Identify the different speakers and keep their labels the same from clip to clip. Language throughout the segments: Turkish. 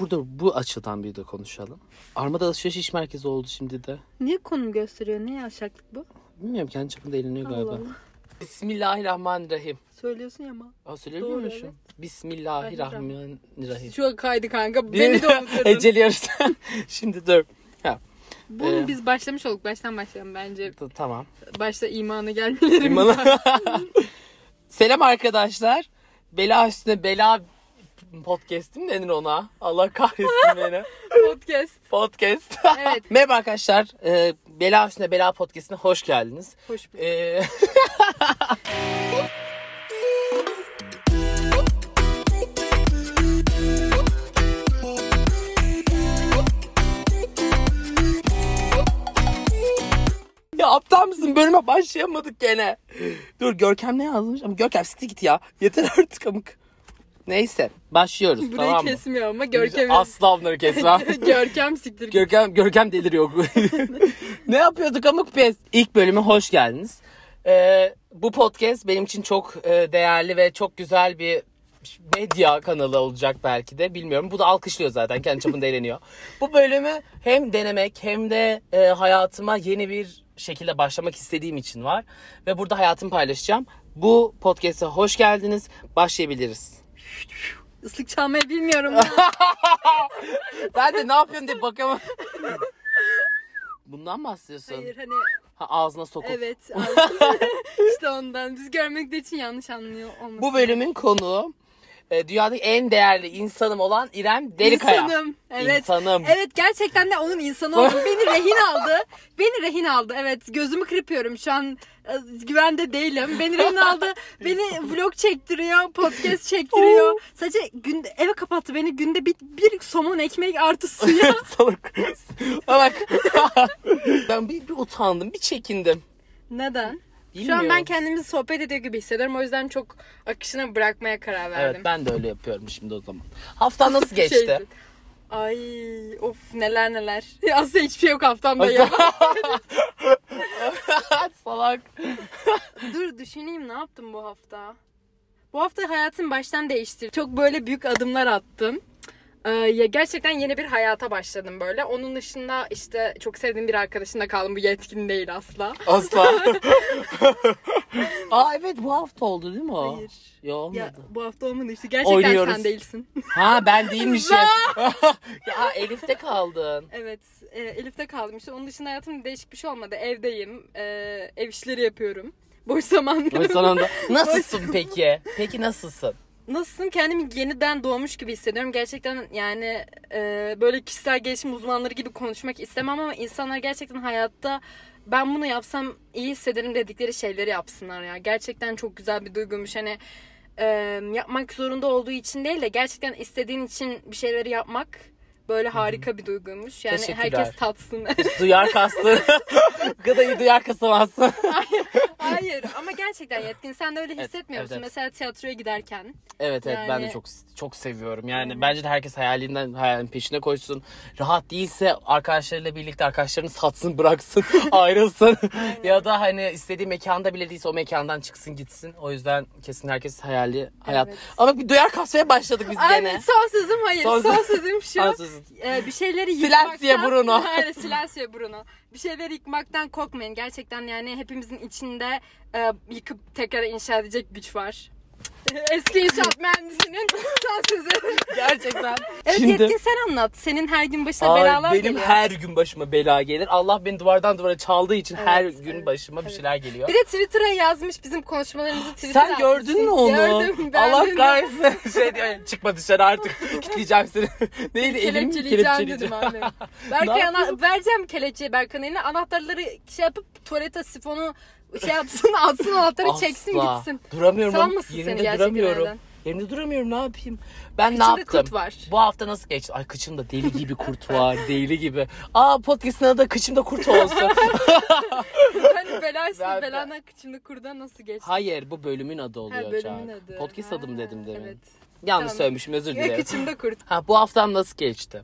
Speaker 1: burada bu açıdan bir de konuşalım. Armada alışveriş iş merkezi oldu şimdi de.
Speaker 2: Niye konum gösteriyor? Ne yavşaklık bu?
Speaker 1: Bilmiyorum kendi çapında eğleniyor
Speaker 2: Allah
Speaker 1: galiba.
Speaker 2: Allah.
Speaker 1: Bismillahirrahmenirahim.
Speaker 2: Söylüyorsun ya ama.
Speaker 1: Aa,
Speaker 2: Doğru,
Speaker 1: söyleyebiliyor muyum? Bismillahirrahmanirrahim.
Speaker 2: Şu an kaydı kanka. Beni de unutturdun.
Speaker 1: Ecel yarışta. şimdi dur.
Speaker 2: Bunu
Speaker 1: Ee.
Speaker 2: biz başlamış olduk. Baştan başlayalım bence.
Speaker 1: T- Tamam.
Speaker 2: Başta imanı gelmelerimiz
Speaker 1: Bana-
Speaker 2: var.
Speaker 1: Selam arkadaşlar. Bela üstüne bela podcast'im denir ona? Allah kahretsin beni.
Speaker 2: Podcast.
Speaker 1: Podcast.
Speaker 2: Evet.
Speaker 1: Merhaba arkadaşlar. Ee, Bela üstüne bela podcast'ine hoş geldiniz.
Speaker 2: Hoş bir.
Speaker 1: Ee, ya aptal mısın? Bölüme başlayamadık gene. Dur Görkem ne yazmış? Ama Görkem site git ya. Yeter artık amık. Neyse başlıyoruz
Speaker 2: Burayı
Speaker 1: tamam mı?
Speaker 2: kesmiyor ama Görkem'i.
Speaker 1: Asla bunları kesmem.
Speaker 2: Görkem siktir. git.
Speaker 1: Görkem, Görkem deliriyor. ne yapıyorduk amık biz? İlk bölüme hoş geldiniz. Ee, bu podcast benim için çok e, değerli ve çok güzel bir medya kanalı olacak belki de bilmiyorum. Bu da alkışlıyor zaten kendi çapında eğleniyor. Bu bölümü hem denemek hem de e, hayatıma yeni bir şekilde başlamak istediğim için var. Ve burada hayatımı paylaşacağım. Bu podcast'e hoş geldiniz. Başlayabiliriz.
Speaker 2: Islık çalmayı bilmiyorum. ya.
Speaker 1: Ben de ne yapıyorsun diye bakamam. Bundan mı bahsediyorsun?
Speaker 2: Hayır hani
Speaker 1: Ha, ağzına sokup.
Speaker 2: evet. işte ondan. Biz görmekte için yanlış anlıyor olmasın.
Speaker 1: Bu bölümün konuğu e, dünyadaki en değerli insanım olan İrem Delikaya.
Speaker 2: İnsanım. Evet.
Speaker 1: İnsanım.
Speaker 2: Evet gerçekten de onun insanı oldu. Beni rehin aldı. Beni rehin aldı. Evet gözümü kırpıyorum şu an e, güvende değilim. Beni rehin aldı. Beni vlog çektiriyor, podcast
Speaker 1: Oh.
Speaker 2: çektiriyor. Sadece günde eve kapattı beni. Günde bir, bir somon ekmek artı suya.
Speaker 1: Salak kız. Ha, Bak. ben bir, bir utandım, bir çekindim.
Speaker 2: Neden? Şu
Speaker 1: Bilmiyorum.
Speaker 2: an ben kendimizi sohbet ediyor gibi hissediyorum. O yüzden çok akışına bırakmaya karar verdim. Şey
Speaker 1: Evet ben de öyle yapıyorum şimdi o zaman. Hafta nasıl geçti?
Speaker 2: Şeydi. Ay of neler neler. Aslında hiçbir şey yok haftamda ya.
Speaker 1: Salak.
Speaker 2: Dur düşüneyim ne yaptım bu hafta. Bu hafta hayatım baştan değişti. Çok böyle büyük adımlar attım. Ee, ya gerçekten yeni bir hayata başladım böyle. Onun dışında işte çok sevdiğim bir arkadaşımla kaldım. Bu yetkin değil asla.
Speaker 1: Asla. Aa evet bu hafta oldu değil mi o?
Speaker 2: Hayır.
Speaker 1: Yo, olmadı.
Speaker 2: Ya bu hafta olmadı işte. Gerçekten
Speaker 1: Oynuyoruz.
Speaker 2: sen değilsin.
Speaker 1: Ha ben değilmişim. ya Elif'te kaldın.
Speaker 2: evet. e, Elif'te kaldım işte. Onun dışında hayatımda değişik bir şey olmadı. Evdeyim. e, ev işleri yapıyorum. Boş
Speaker 1: Ve
Speaker 2: zamanlarım.
Speaker 1: son anda nasılsın peki? Peki nasılsın?
Speaker 2: Nasılsın? Kendimi yeniden doğmuş gibi hissediyorum. Gerçekten yani e, böyle kişisel gelişim uzmanları gibi konuşmak istemem ama insanlar gerçekten hayatta ben bunu yapsam iyi hissederim dedikleri şeyleri yapsınlar ya. Gerçekten çok güzel bir duygumuş. Hani e, yapmak zorunda olduğu için değil de gerçekten istediğin için bir şeyleri yapmak böyle harika bir duyguymuş. Yani
Speaker 1: Teşekkürler.
Speaker 2: herkes tatsın.
Speaker 1: Duyar kastı. Gıdayı duyar kasamazsın.
Speaker 2: Hayır ama gerçekten yetkin. Sen de öyle
Speaker 1: Evet,
Speaker 2: hissetmiyor musun?
Speaker 1: evet, evet.
Speaker 2: Mesela tiyatroya giderken.
Speaker 1: Evet evet ben de
Speaker 2: Yani-
Speaker 1: çok çok seviyorum. Yani bence de herkes hayalinden hayalin peşine koysun. Rahat değilse arkadaşlarıyla birlikte arkadaşlarını satsın, bıraksın, ayrılsın. ya da hani istediği mekanda bile değilse o mekandan çıksın gitsin. O yüzden kesin herkes hayali hayat.
Speaker 2: Evet.
Speaker 1: Ama bir duyar kasmaya başladık biz
Speaker 2: Aynen
Speaker 1: gene.
Speaker 2: son sözüm hayır.
Speaker 1: Son-
Speaker 2: Son, sözüm şu.
Speaker 1: Ansızın.
Speaker 2: Ee, bir şeyleri
Speaker 1: Silencio
Speaker 2: yıkmaktan...
Speaker 1: Bruno.
Speaker 2: Aynen Silencio Bruno. Bir şeyleri yıkmaktan korkmayın. Gerçekten yani hepimizin içinde e, yıkıp tekrar inşa edecek güç var. Eski inşaat mühendisinin son sözü.
Speaker 1: Gerçekten.
Speaker 2: Evet
Speaker 1: Şimdi-
Speaker 2: Yetkin sen anlat. Senin her gün başına
Speaker 1: Ay,
Speaker 2: belalar
Speaker 1: benim
Speaker 2: geliyor.
Speaker 1: her gün başıma bela gelir. Allah beni duvardan duvara çaldığı için
Speaker 2: Evet,
Speaker 1: her gün
Speaker 2: evet,
Speaker 1: başıma bir
Speaker 2: evet.
Speaker 1: şeyler geliyor.
Speaker 2: Bir de Twitter'a yazmış bizim konuşmalarımızı Twitter'a
Speaker 1: Sen gördün mü
Speaker 2: atmışsın.
Speaker 1: onu?
Speaker 2: Gördüm ben.
Speaker 1: Allah
Speaker 2: dedim.
Speaker 1: kahretsin. Şey diyor, yani, çıkma dışarı artık. Kitleyeceğim seni. Neydi elimi
Speaker 2: Kelepçeleyeceğim dedim
Speaker 1: kelepçeleyeceğim.
Speaker 2: abi. Berkay ana-
Speaker 1: yapıyorsun?
Speaker 2: vereceğim kelepçeyi Berkay'ın eline. Anahtarları şey yapıp tuvalete sifonu şey yapsın atsın anahtarı çeksin
Speaker 1: Asla.
Speaker 2: gitsin.
Speaker 1: Duramıyorum. ama
Speaker 2: Salmasın seni
Speaker 1: Yerimde
Speaker 2: gerçekten
Speaker 1: duramıyorum.
Speaker 2: evden.
Speaker 1: Yerimde duramıyorum ne yapayım? Ben ne
Speaker 2: Kıçında
Speaker 1: yaptım?
Speaker 2: kurt var.
Speaker 1: Bu hafta nasıl geçti? Ay kıçımda deli gibi kurt var. deli gibi. Aa podcast'ın adı da kıçımda kurt olsun.
Speaker 2: Hani belasın
Speaker 1: Berkay.
Speaker 2: belana kıçını kurdan nasıl geçti?
Speaker 1: Hayır bu bölümün adı oluyor.
Speaker 2: bölümün
Speaker 1: Can.
Speaker 2: adı.
Speaker 1: Podcast
Speaker 2: Ha,
Speaker 1: adım dedim demin.
Speaker 2: Evet.
Speaker 1: Yanlış
Speaker 2: Tamam.
Speaker 1: söylemişim özür
Speaker 2: Ya
Speaker 1: dilerim.
Speaker 2: kıçımda kurt.
Speaker 1: Ha bu haftam nasıl geçti?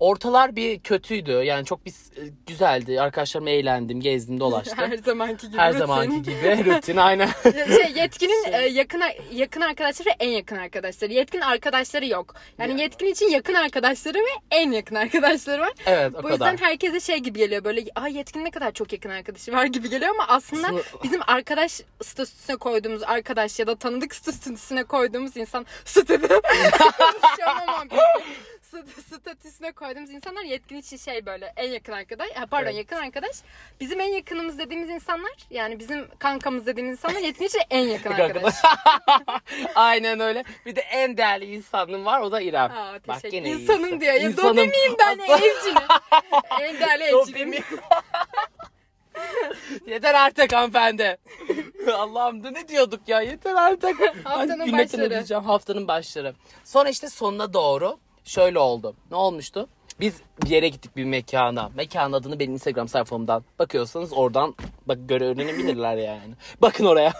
Speaker 1: Ortalar bir kötüydü. Yani çok biz e, güzeldi. Arkadaşlarım eğlendim, gezdim, dolaştım.
Speaker 2: Her zamanki gibi.
Speaker 1: Her
Speaker 2: rutin.
Speaker 1: zamanki gibi rutin aynen.
Speaker 2: şey yetkinin e, yakın yakın arkadaşları ve en yakın arkadaşları. Yetkin arkadaşları yok. Yani yetkin için yakın arkadaşları ve en yakın arkadaşları var.
Speaker 1: Evet o
Speaker 2: Bu
Speaker 1: kadar.
Speaker 2: yüzden herkese şey gibi geliyor böyle ay yetkin ne kadar çok yakın arkadaşı var gibi geliyor ama aslında
Speaker 1: Aslında-
Speaker 2: bizim arkadaş statüsüne koyduğumuz arkadaş ya da tanıdık statüsüne koyduğumuz insan statü Şey olmam. Stat- statüsüne koyduğumuz insanlar yetkin için şey böyle en yakın arkadaş ha, pardon
Speaker 1: Evet.
Speaker 2: yakın arkadaş bizim en yakınımız dediğimiz insanlar yani bizim kankamız dediğimiz insanlar yetkin için en yakın arkadaş.
Speaker 1: Aynen öyle. Bir de en değerli insanım var o da İrem.
Speaker 2: Aa,
Speaker 1: Bak
Speaker 2: teşekkür.
Speaker 1: gene iyi
Speaker 2: İnsanım
Speaker 1: insan.
Speaker 2: diyor. Ya
Speaker 1: İnsanım.
Speaker 2: dobi miyim ben
Speaker 1: Aslan-
Speaker 2: evcinim? en değerli evcinim.
Speaker 1: Dopimi. yeter artık hanımefendi. Allah'ım da ne diyorduk ya yeter artık.
Speaker 2: Haftanın
Speaker 1: Ay, gülmekten
Speaker 2: başları.
Speaker 1: öleceğim, haftanın başları. Sonra işte sonuna doğru şöyle oldu. Ne olmuştu? Biz bir yere gittik bir mekana. Mekanın adını benim Instagram sayfamdan bakıyorsanız oradan bak göre öğrenebilirler yani. Bakın oraya.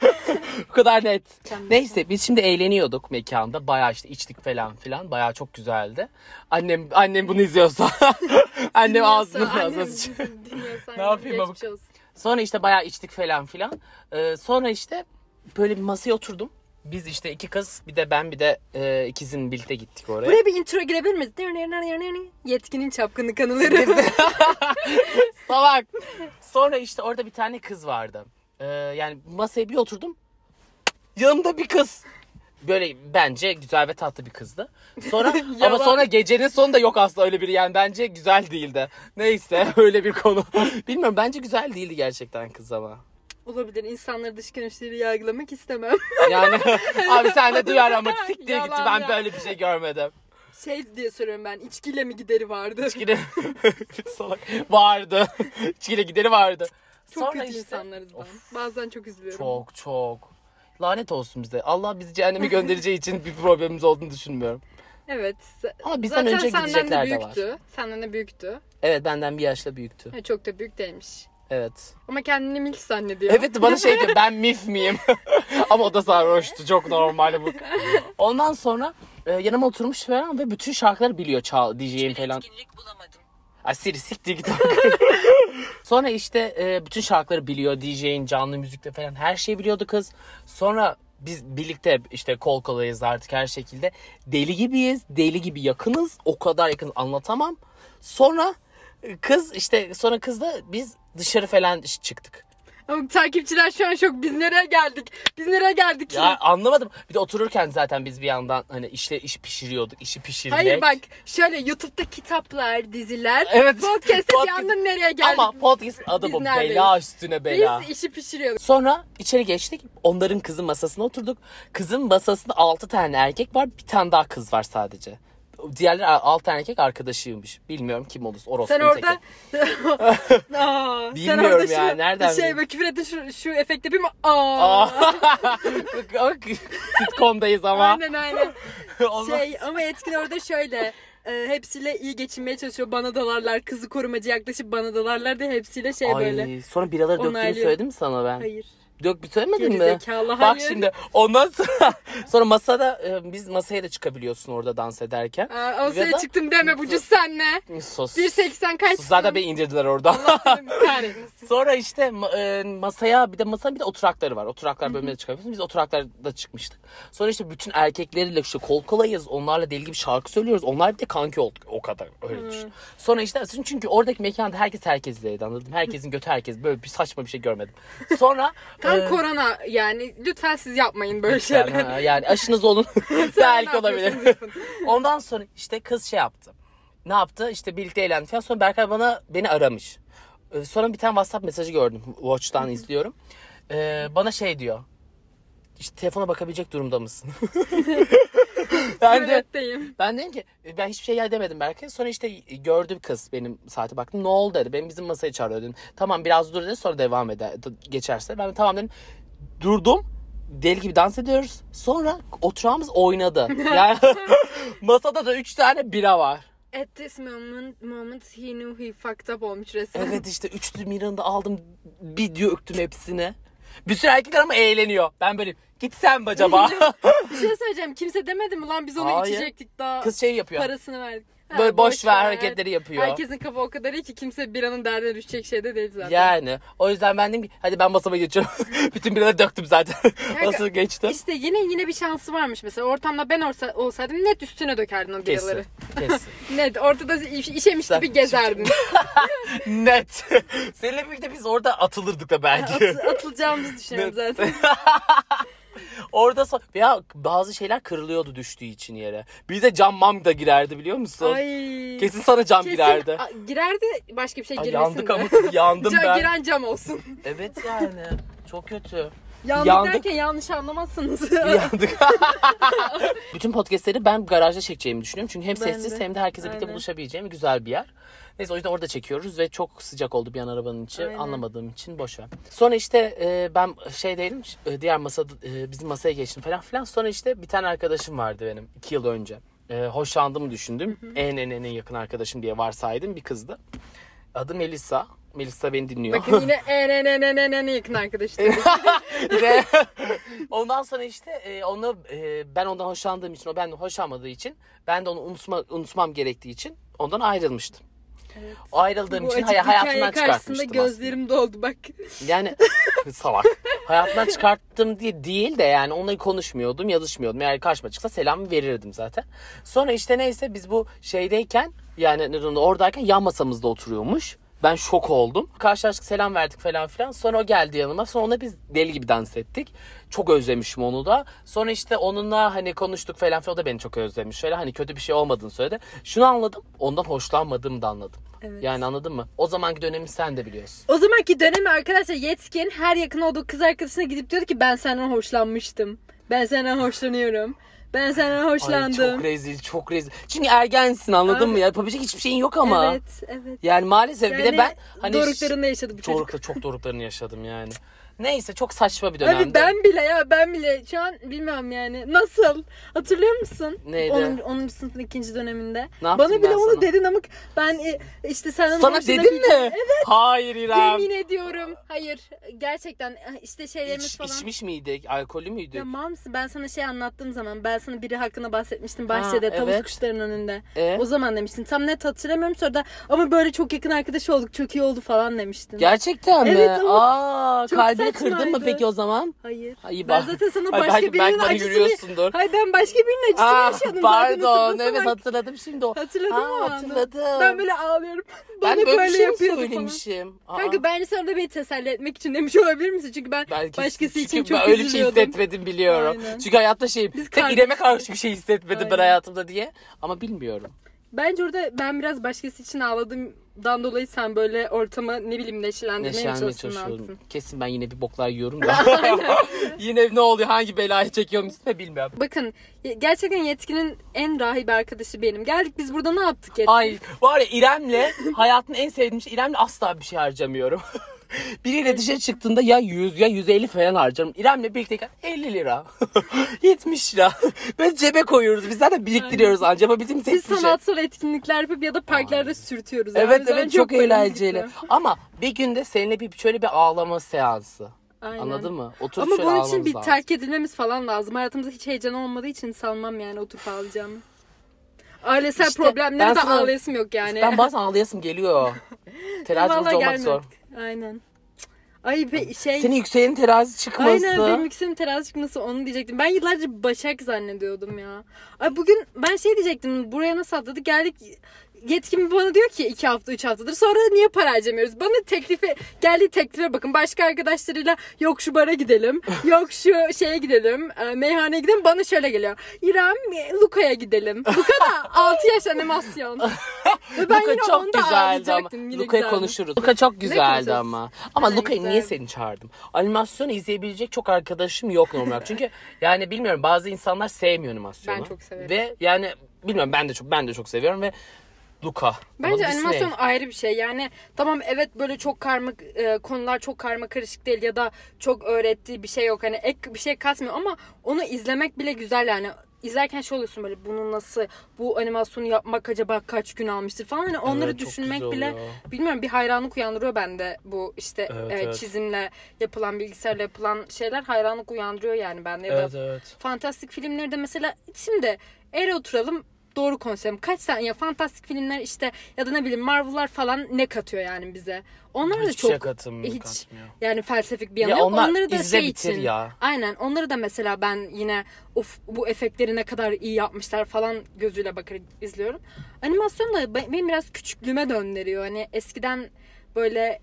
Speaker 1: Bu kadar net.
Speaker 2: Mükemmel.
Speaker 1: Neyse biz şimdi eğleniyorduk mekanda. Bayağı işte içtik falan filan. Bayağı çok güzeldi. Annem annem bunu izliyorsa. annem ağzını ağzına sıçıyor. Ne yapayım babuk?
Speaker 2: babuk?
Speaker 1: Sonra işte bayağı içtik falan filan. Ee, sonra işte böyle bir masaya oturdum. Biz işte iki kız bir de ben bir de e, ikizim birlikte gittik oraya.
Speaker 2: Buraya bir intro girebilir miyiz? Yetkinin çapkını kanıları.
Speaker 1: Salak. Sonra işte orada bir tane kız vardı. Ee, yani masaya bir oturdum. Yanımda bir kız. Böyle bence güzel ve tatlı bir kızdı. Sonra ama
Speaker 2: Yalan.
Speaker 1: sonra gecenin sonu da yok aslında öyle biri yani bence güzel değildi. Neyse öyle bir konu. Bilmiyorum bence güzel değildi gerçekten kız ama.
Speaker 2: Olabilir. İnsanları dış görünüşleri yargılamak istemem.
Speaker 1: Yani abi sen de duyar ama siktir git
Speaker 2: Yalan
Speaker 1: ben
Speaker 2: ya.
Speaker 1: böyle bir şey görmedim.
Speaker 2: Şey diye soruyorum ben. İçkiyle mi gideri vardı?
Speaker 1: İçkide salak vardı. İçkide gideri vardı.
Speaker 2: Çok
Speaker 1: Sonra
Speaker 2: kötü
Speaker 1: işte-
Speaker 2: insanlarız ben. Bazen çok üzülüyorum.
Speaker 1: Çok çok. Lanet olsun bize. Allah bizi cehenneme göndereceği için bir problemimiz olduğunu düşünmüyorum.
Speaker 2: Evet.
Speaker 1: Ama bizden
Speaker 2: Zaten
Speaker 1: önce
Speaker 2: senden de
Speaker 1: gidecekler de var.
Speaker 2: büyüktü. Senden de büyüktü.
Speaker 1: Evet benden bir yaşla büyüktü.
Speaker 2: Ha, çok da büyük değilmiş.
Speaker 1: Evet.
Speaker 2: Ama kendini milf zannediyor.
Speaker 1: Evet bana şey diyor ben mif miyim? Ama o da sarhoştu çok normal bu. Ondan sonra e, yanıma oturmuş falan ve bütün şarkıları biliyor çal diyeceğim falan.
Speaker 3: Etkinlik bulamadım.
Speaker 1: Ay Siri siktir git. Sonra işte e, bütün şarkıları biliyor. DJ'in canlı müzikle falan her şeyi biliyordu kız. Sonra biz birlikte işte kol kolayız artık her şekilde. Deli gibiyiz. Deli gibi yakınız. O kadar yakın anlatamam. Sonra e, kız işte sonra kızla biz dışarı falan ş- çıktık.
Speaker 2: Ama takipçiler şu an şok. Biz nereye geldik? Biz nereye geldik?
Speaker 1: Ya anlamadım. Bir de otururken zaten biz bir yandan hani işte iş pişiriyorduk. işi pişirmek.
Speaker 2: Hayır bak şöyle YouTube'da kitaplar, diziler.
Speaker 1: Evet.
Speaker 2: Podcast'e bir
Speaker 1: Podcast-
Speaker 2: anda nereye geldik?
Speaker 1: Ama podcast adı
Speaker 2: Biz
Speaker 1: bu.
Speaker 2: neredeyiz?
Speaker 1: Bela üstüne bela.
Speaker 2: Biz işi pişiriyorduk.
Speaker 1: Sonra içeri geçtik. Onların kızın masasına oturduk. Kızın masasında 6 tane erkek var. Bir tane daha kız var sadece. Diğerleri 6 tane erkek arkadaşıymış. Bilmiyorum kim olur. Orospu
Speaker 2: Sen orada... Aa, sen
Speaker 1: Bilmiyorum
Speaker 2: orada şu,
Speaker 1: ya, nereden
Speaker 2: şey
Speaker 1: bileyim?
Speaker 2: böyle küfür ettin şu, şu efekt yapayım mı? Aa.
Speaker 1: Ah! Sitcom'dayız ama.
Speaker 2: Aynen aynen.
Speaker 1: Olmaz.
Speaker 2: Şey ama Etkin orada şöyle e, hepsiyle iyi geçinmeye çalışıyor. Bana dalarlar. Kızı korumacı yaklaşıp bana dalarlar diye hepsiyle şey
Speaker 1: Ay,
Speaker 2: böyle.
Speaker 1: sonra biraları döktüğümü
Speaker 2: Onaylıyor.
Speaker 1: söyledim mi sana ben?
Speaker 2: Hayır.
Speaker 1: Dök bir söylemedin mi?
Speaker 2: Gerizekalı,
Speaker 1: Bak
Speaker 2: hayır.
Speaker 1: şimdi ondan sonra sonra masada e, biz masaya da çıkabiliyorsun orada dans ederken.
Speaker 2: Aa, o
Speaker 1: Ya
Speaker 2: sıraya
Speaker 1: da-
Speaker 2: çıktım deme Bucu sen ne?
Speaker 1: Sus.
Speaker 2: 1.80 kaç?
Speaker 1: Zaten beni indirdiler orada.
Speaker 2: Kahretmesin.
Speaker 1: Sonra işte ma- e, masaya bir de masanın bir de oturakları var. Oturaklar bölümüne çıkabiliyorsun. Biz oturaklarda çıkmıştık. Sonra işte bütün erkekleriyle işte kol kolayız. Onlarla deli gibi şarkı söylüyoruz. Onlar bir de kanki olduk. O kadar öyle düşün. Sonra işte çünkü oradaki mekanda herkes herkesleydi anladın mı? Herkesin götü herkes. Böyle bir saçma bir şey görmedim. Sonra
Speaker 2: Tam
Speaker 1: e,
Speaker 2: korona yani lütfen siz yapmayın böyle
Speaker 1: yani,
Speaker 2: şeyler.
Speaker 1: ha, yani aşınız olun.
Speaker 2: Sen
Speaker 1: Belki
Speaker 2: ne
Speaker 1: olabilir.
Speaker 2: yapıyorsunuz?
Speaker 1: Ondan sonra işte kız şey yaptı. Ne yaptı? İşte birlikte eğlendik falan. Sonra Berkay bana beni aramış. Ee, Sonra bir tane WhatsApp mesajı gördüm. Watch'tan izliyorum. Ee, bana şey diyor. İşte telefona bakabilecek durumda mısın? ben de
Speaker 2: Tuvaletteyim.
Speaker 1: ben dedim ki e, ben hiçbir şey yer demedim Berkay. Sonra işte gördü kız benim saate baktım. Ne oldu dedi. Benim bizim masaya çağırıyor dedim. Tamam biraz dur dedi sonra devam eder d- geçerse. Ben de tamam dedim. Durdum. Deli gibi dans ediyoruz. Sonra oturağımız oynadı. Yani masada da üç tane bira var.
Speaker 2: At this moment, moment he knew he fucked up olmuş resmen.
Speaker 1: Evet işte üçlü Miranda aldım bir döktüm hepsini. Bir sürü erkekler ama eğleniyor. Ben böyle Gitsem mi acaba?
Speaker 2: Bir şey söyleyeceğim. Kimse demedi mi lan biz onu
Speaker 1: Hayır.
Speaker 2: içecektik daha
Speaker 1: Kız şey yapıyor.
Speaker 2: parasını verdik. Ha,
Speaker 1: Böyle boş ver hareketleri yapıyor.
Speaker 2: Herkesin kafa o kadar iyi ki kimse bir anın derdine düşecek şeyde değil zaten.
Speaker 1: Yani o yüzden ben dedim ki hadi ben masama geçiyorum. Bütün biraları döktüm zaten. Nasıl geçti?
Speaker 2: İşte yine yine bir şansı varmış mesela. Ortamda ben olsa, olsaydım net üstüne dökerdin o biraları.
Speaker 1: Kesin. Kesin.
Speaker 2: Net ortada iş- işemiş
Speaker 1: Sen-
Speaker 2: gibi gezerdin.
Speaker 1: Net. Seninle birlikte biz orada atılırdık da belki.
Speaker 2: At- atılacağımızı düşünüyorum
Speaker 1: Net.
Speaker 2: zaten.
Speaker 1: orada so- ya bazı şeyler kırılıyordu düştüğü için yere. Bir de cam mam da girerdi biliyor musun?
Speaker 2: Ay.
Speaker 1: Kesin sana cam
Speaker 2: Kesin-
Speaker 1: girerdi.
Speaker 2: A- girerdi başka bir şey
Speaker 1: Ay,
Speaker 2: girmesin
Speaker 1: yandık
Speaker 2: de.
Speaker 1: ama yandım
Speaker 2: Ca-
Speaker 1: ben.
Speaker 2: Giren cam olsun.
Speaker 1: Evet yani. Çok kötü.
Speaker 2: Yandık,
Speaker 1: Yandık.
Speaker 2: derken yanlış anlamazsınız.
Speaker 1: Yandık. Bütün podcastleri ben garajda çekeceğimi düşünüyorum. Çünkü hem
Speaker 2: Ben
Speaker 1: sessiz
Speaker 2: de.
Speaker 1: hem de herkese birlikte
Speaker 2: Aynen.
Speaker 1: buluşabileceğim güzel bir yer. Neyse o yüzden orada çekiyoruz ve çok sıcak oldu bir an arabanın içi.
Speaker 2: Aynen.
Speaker 1: Anlamadığım için boş ver. Sonra işte e, ben şey değilim e, diğer masada e, bizim masaya geçtim falan filan. Sonra işte bir tane arkadaşım vardı benim iki yıl önce. E, hoşlandığımı düşündüm. En en en en yakın arkadaşım diye varsaydım bir kızdı. Adı Melisa. Melisa beni dinliyor.
Speaker 2: Bakın yine e, en en en en en en yakın arkadaş dedik.
Speaker 1: Ve ondan sonra işte e, onu e, ben ondan hoşlandığım için o benden hoşlanmadığı için ben de onu unutma, unutmam gerektiği için ondan ayrılmıştım. O ayrıldığım için hani hay- hayatımdan
Speaker 2: karşısında
Speaker 1: çıkartmıştım.
Speaker 2: gözlerim doldu bak.
Speaker 1: aslında. Yani salak. hayatımdan çıkarttım diye değil de yani onunla konuşmuyordum, yazışmıyordum. Eğer karşıma çıksa selam verirdim zaten. Sonra işte neyse biz bu şeydeyken yani neden oradayken yan masamızda oturuyormuş. Ben şok oldum. Karşılaştık selam verdik falan filan. Sonra o geldi yanıma. Sonra ona biz deli gibi dans ettik. Çok özlemişim onu da. Sonra işte onunla hani konuştuk falan filan. O da beni çok özlemiş. Şöyle hani kötü bir şey olmadığını söyledi. Şunu anladım. Ondan hoşlanmadığımı da anladım.
Speaker 2: Evet.
Speaker 1: Yani anladın mı? O zamanki dönemi sen de biliyorsun.
Speaker 2: O zamanki dönemi arkadaşlar yetkin her yakın olduğu kız arkadaşına gidip diyordu ki ben senden hoşlanmıştım. Ben senden hoşlanıyorum. Ben senden
Speaker 1: Ay
Speaker 2: hoşlandım.
Speaker 1: çok rezil, çok rezil. Çünkü ergensin anladın
Speaker 2: Abi-
Speaker 1: mı? Ya yapabilecek hiçbir şeyin yok ama.
Speaker 2: Evet, evet.
Speaker 1: Yani maalesef bir de ben hani
Speaker 2: doruklarında yaşadı bu çocuk.
Speaker 1: Dorukta çok doruklarını yaşadım yani. Neyse çok saçma bir dönemde.
Speaker 2: Abi ben bile ya ben bile şu an bilmiyorum yani nasıl hatırlıyor musun?
Speaker 1: Neydi?
Speaker 2: 10. 10. sınıfın ikinci döneminde.
Speaker 1: Ne yaptım
Speaker 2: Bana bile
Speaker 1: ben
Speaker 2: onu
Speaker 1: sana?
Speaker 2: dedin ama ben e, işte senden
Speaker 1: Sana
Speaker 2: hoşlanabileceğim-
Speaker 1: dedim mi? Hayır İrem.
Speaker 2: Yemin ediyorum. Hayır. Gerçekten e, işte şeylerimiz
Speaker 1: İç,
Speaker 2: falan.
Speaker 1: içmiş miydik? Alkolü müydük?
Speaker 2: Ya mamsi ben sana şey anlattığım zaman ben sana biri hakkında bahsetmiştim bahçede
Speaker 1: Ha,
Speaker 2: tavus
Speaker 1: evet.
Speaker 2: kuşlarının önünde.
Speaker 1: E?
Speaker 2: O zaman demiştin tam net hatırlamıyorum sonra da ama böyle çok yakın arkadaş olduk çok iyi oldu falan demiştin.
Speaker 1: Gerçekten mi?
Speaker 2: Evet, ama
Speaker 1: Aa,
Speaker 2: çok
Speaker 1: kalbini kırdın mı
Speaker 2: saçmaydı.
Speaker 1: peki o zaman?
Speaker 2: Hayır.
Speaker 1: Ay,
Speaker 2: Ben
Speaker 1: bak-
Speaker 2: zaten sana
Speaker 1: Ay,
Speaker 2: başka
Speaker 1: belki-
Speaker 2: birinin
Speaker 1: belki bana
Speaker 2: acısını...
Speaker 1: yürüyorsundur.
Speaker 2: Hayır ben başka birinin acısını
Speaker 1: Ah,
Speaker 2: yaşadım. şey zaten
Speaker 1: pardon
Speaker 2: hatırlasana.
Speaker 1: evet hatırladım şimdi o.
Speaker 2: Hatırladım
Speaker 1: Aa,
Speaker 2: ama.
Speaker 1: hatırladım.
Speaker 2: Ben böyle ağlıyorum. Bana
Speaker 1: Ben böyle, bir şey mi
Speaker 2: yapıyordu falan.
Speaker 1: söylemişim? Aa.
Speaker 2: Kanka bence sen de beni teselli etmek için demiş olabilir misin? Çünkü ben
Speaker 1: Belki
Speaker 2: başkası
Speaker 1: çünkü
Speaker 2: için çok
Speaker 1: ben öyle bir şey
Speaker 2: üzülüyordum.
Speaker 1: hissetmedim biliyorum.
Speaker 2: Aynen.
Speaker 1: Çünkü hayatta şeyim.
Speaker 2: Biz
Speaker 1: tek
Speaker 2: kardeşiz.
Speaker 1: İrem'e karşı bir şey hissetmedim ben
Speaker 2: Aynen.
Speaker 1: hayatımda diye. Ama bilmiyorum.
Speaker 2: Bence orada ben biraz başkası için ağladığımdan dolayı sen böyle ortama ne bileyim neşelendirmeye
Speaker 1: Neşelenmeye
Speaker 2: çalıştın
Speaker 1: çalışıyorum.
Speaker 2: altın.
Speaker 1: Kesin ben yine bir boklar yiyorum da. yine ne oluyor hangi belayı çekiyorum üstüme bilmiyorum.
Speaker 2: Bakın ye- gerçekten Yetkin'in en rahibi arkadaşı benim. Geldik biz burada ne yaptık Yetkin?
Speaker 1: Ay var ya İrem'le hayatın en sevdiğim şey İrem'le asla bir şey harcamıyorum. Biriyle dışarı çıktığında ya 100 ya 150 falan harcarım. İrem'le birlikteyken 50 lira, 70 lira. Böyle cebe koyuyoruz. Biz zaten biriktiriyoruz anca ama bizim tek
Speaker 2: Biz
Speaker 1: bir şey.
Speaker 2: sanatsal etkinlikler yapıp ya da parklarda sürtüyoruz. yani.
Speaker 1: Evet
Speaker 2: O yüzden
Speaker 1: evet çok,
Speaker 2: bölümümüz
Speaker 1: eğlenceli.
Speaker 2: gitti.
Speaker 1: Ama bir günde seninle bir şöyle bir ağlama seansı.
Speaker 2: Aynen.
Speaker 1: Anladın mı? Oturup
Speaker 2: Ama
Speaker 1: şöyle
Speaker 2: bunun için
Speaker 1: ağlamamız
Speaker 2: bir
Speaker 1: lazım.
Speaker 2: terk edilmemiz falan lazım. Hayatımızda hiç heyecan olmadığı için sanmam yani oturup ağlayacağımı. Ailesel
Speaker 1: İşte ben
Speaker 2: problemleri de
Speaker 1: sana-
Speaker 2: ağlayasım yok yani.
Speaker 1: Ben bazen ağlayasım geliyor. Terazi
Speaker 2: Vallahi
Speaker 1: burcu olmak
Speaker 2: gelmedik.
Speaker 1: zor.
Speaker 2: Aynen. Ay be şey.
Speaker 1: Senin yükselenin terazi çıkması.
Speaker 2: Aynen benim ikisinin terazi çıkması onu diyecektim. Ben yıllarca Başak zannediyordum ya. Ay bugün ben şey diyecektim buraya nasıl atladık geldik yetkin bana diyor ki iki hafta üç haftadır sonra niye para harcamıyoruz? Bana teklife geldiği teklife bakın başka arkadaşlarıyla yok şu bara gidelim yok şu şeye gidelim e, meyhaneye gidelim bana şöyle geliyor. İrem e, Luka'ya gidelim. Luka da 6 yaş animasyon. Ve ben
Speaker 1: Luka
Speaker 2: yine
Speaker 1: çok
Speaker 2: onu da
Speaker 1: güzeldi ama.
Speaker 2: ağlayacaktım. Yine
Speaker 1: Luka'yı
Speaker 2: güzeldi.
Speaker 1: konuşuruz. Luka çok güzeldi
Speaker 2: konuşacağız?
Speaker 1: ama. Ama
Speaker 2: Ha,
Speaker 1: Luka'yı niye
Speaker 2: güzel.
Speaker 1: seni çağırdım? Animasyon izleyebilecek çok arkadaşım yok normal. olarak. Çünkü yani bilmiyorum bazı insanlar sevmiyor animasyonu.
Speaker 2: Ben çok severim.
Speaker 1: Ve yani bilmiyorum ben de çok ben de çok seviyorum ve Luka. Ama
Speaker 2: Bence
Speaker 1: Disney.
Speaker 2: animasyon ayrı bir şey. Yani tamam evet böyle çok karmak e, konular çok karma karışık değil ya da çok öğrettiği bir şey yok. Hani ek bir şey katmıyor ama onu izlemek bile güzel yani. izlerken şey oluyorsun böyle bunu nasıl bu animasyonu yapmak acaba kaç gün almıştır falan hani onları
Speaker 1: Evet, çok
Speaker 2: düşünmek
Speaker 1: güzel
Speaker 2: bile
Speaker 1: oluyor.
Speaker 2: bilmiyorum bir hayranlık uyandırıyor bende bu işte
Speaker 1: Evet,
Speaker 2: e,
Speaker 1: evet.
Speaker 2: çizimle yapılan bilgisayarla yapılan şeyler hayranlık uyandırıyor yani bende ya da
Speaker 1: Evet evet.
Speaker 2: fantastik filmleri de mesela şimdi eğri oturalım doğru konuşalım. Kaç tane ya fantastik filmler işte ya da ne bileyim Marvel'lar falan ne katıyor yani bize? Onlar da
Speaker 1: Hiçbir
Speaker 2: çok
Speaker 1: şey katım,
Speaker 2: hiç-
Speaker 1: katmıyor.
Speaker 2: yani felsefik bir yanı
Speaker 1: Ya
Speaker 2: yok.
Speaker 1: onlar
Speaker 2: Onları da
Speaker 1: izle
Speaker 2: şey
Speaker 1: bitir
Speaker 2: için.
Speaker 1: ya.
Speaker 2: Aynen. Onları da mesela ben yine of bu efektleri ne kadar iyi yapmışlar falan gözüyle bakar izliyorum. Animasyon da be- benim biraz küçüklüğüme döndürüyor. Hani eskiden böyle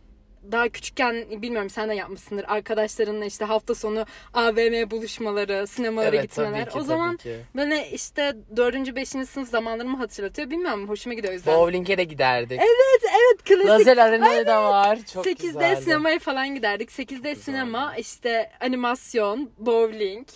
Speaker 2: daha küçükken bilmiyorum sen de yapmışsındır arkadaşlarınla işte hafta sonu AVM buluşmaları, sinemalara
Speaker 1: Evet tabii
Speaker 2: gitmeler.
Speaker 1: ki.
Speaker 2: o zaman
Speaker 1: tabii ki.
Speaker 2: böyle işte 4. 5. sınıf zamanlarımı hatırlatıyor. Bilmiyorum hoşuma gidiyor o yüzden.
Speaker 1: Bowling'e de giderdik.
Speaker 2: Klasik
Speaker 1: Lazer arenayı da var. Çok
Speaker 2: 8'de
Speaker 1: güzeldi.
Speaker 2: sinemaya falan giderdik. 8'de sinema, işte animasyon, bowling.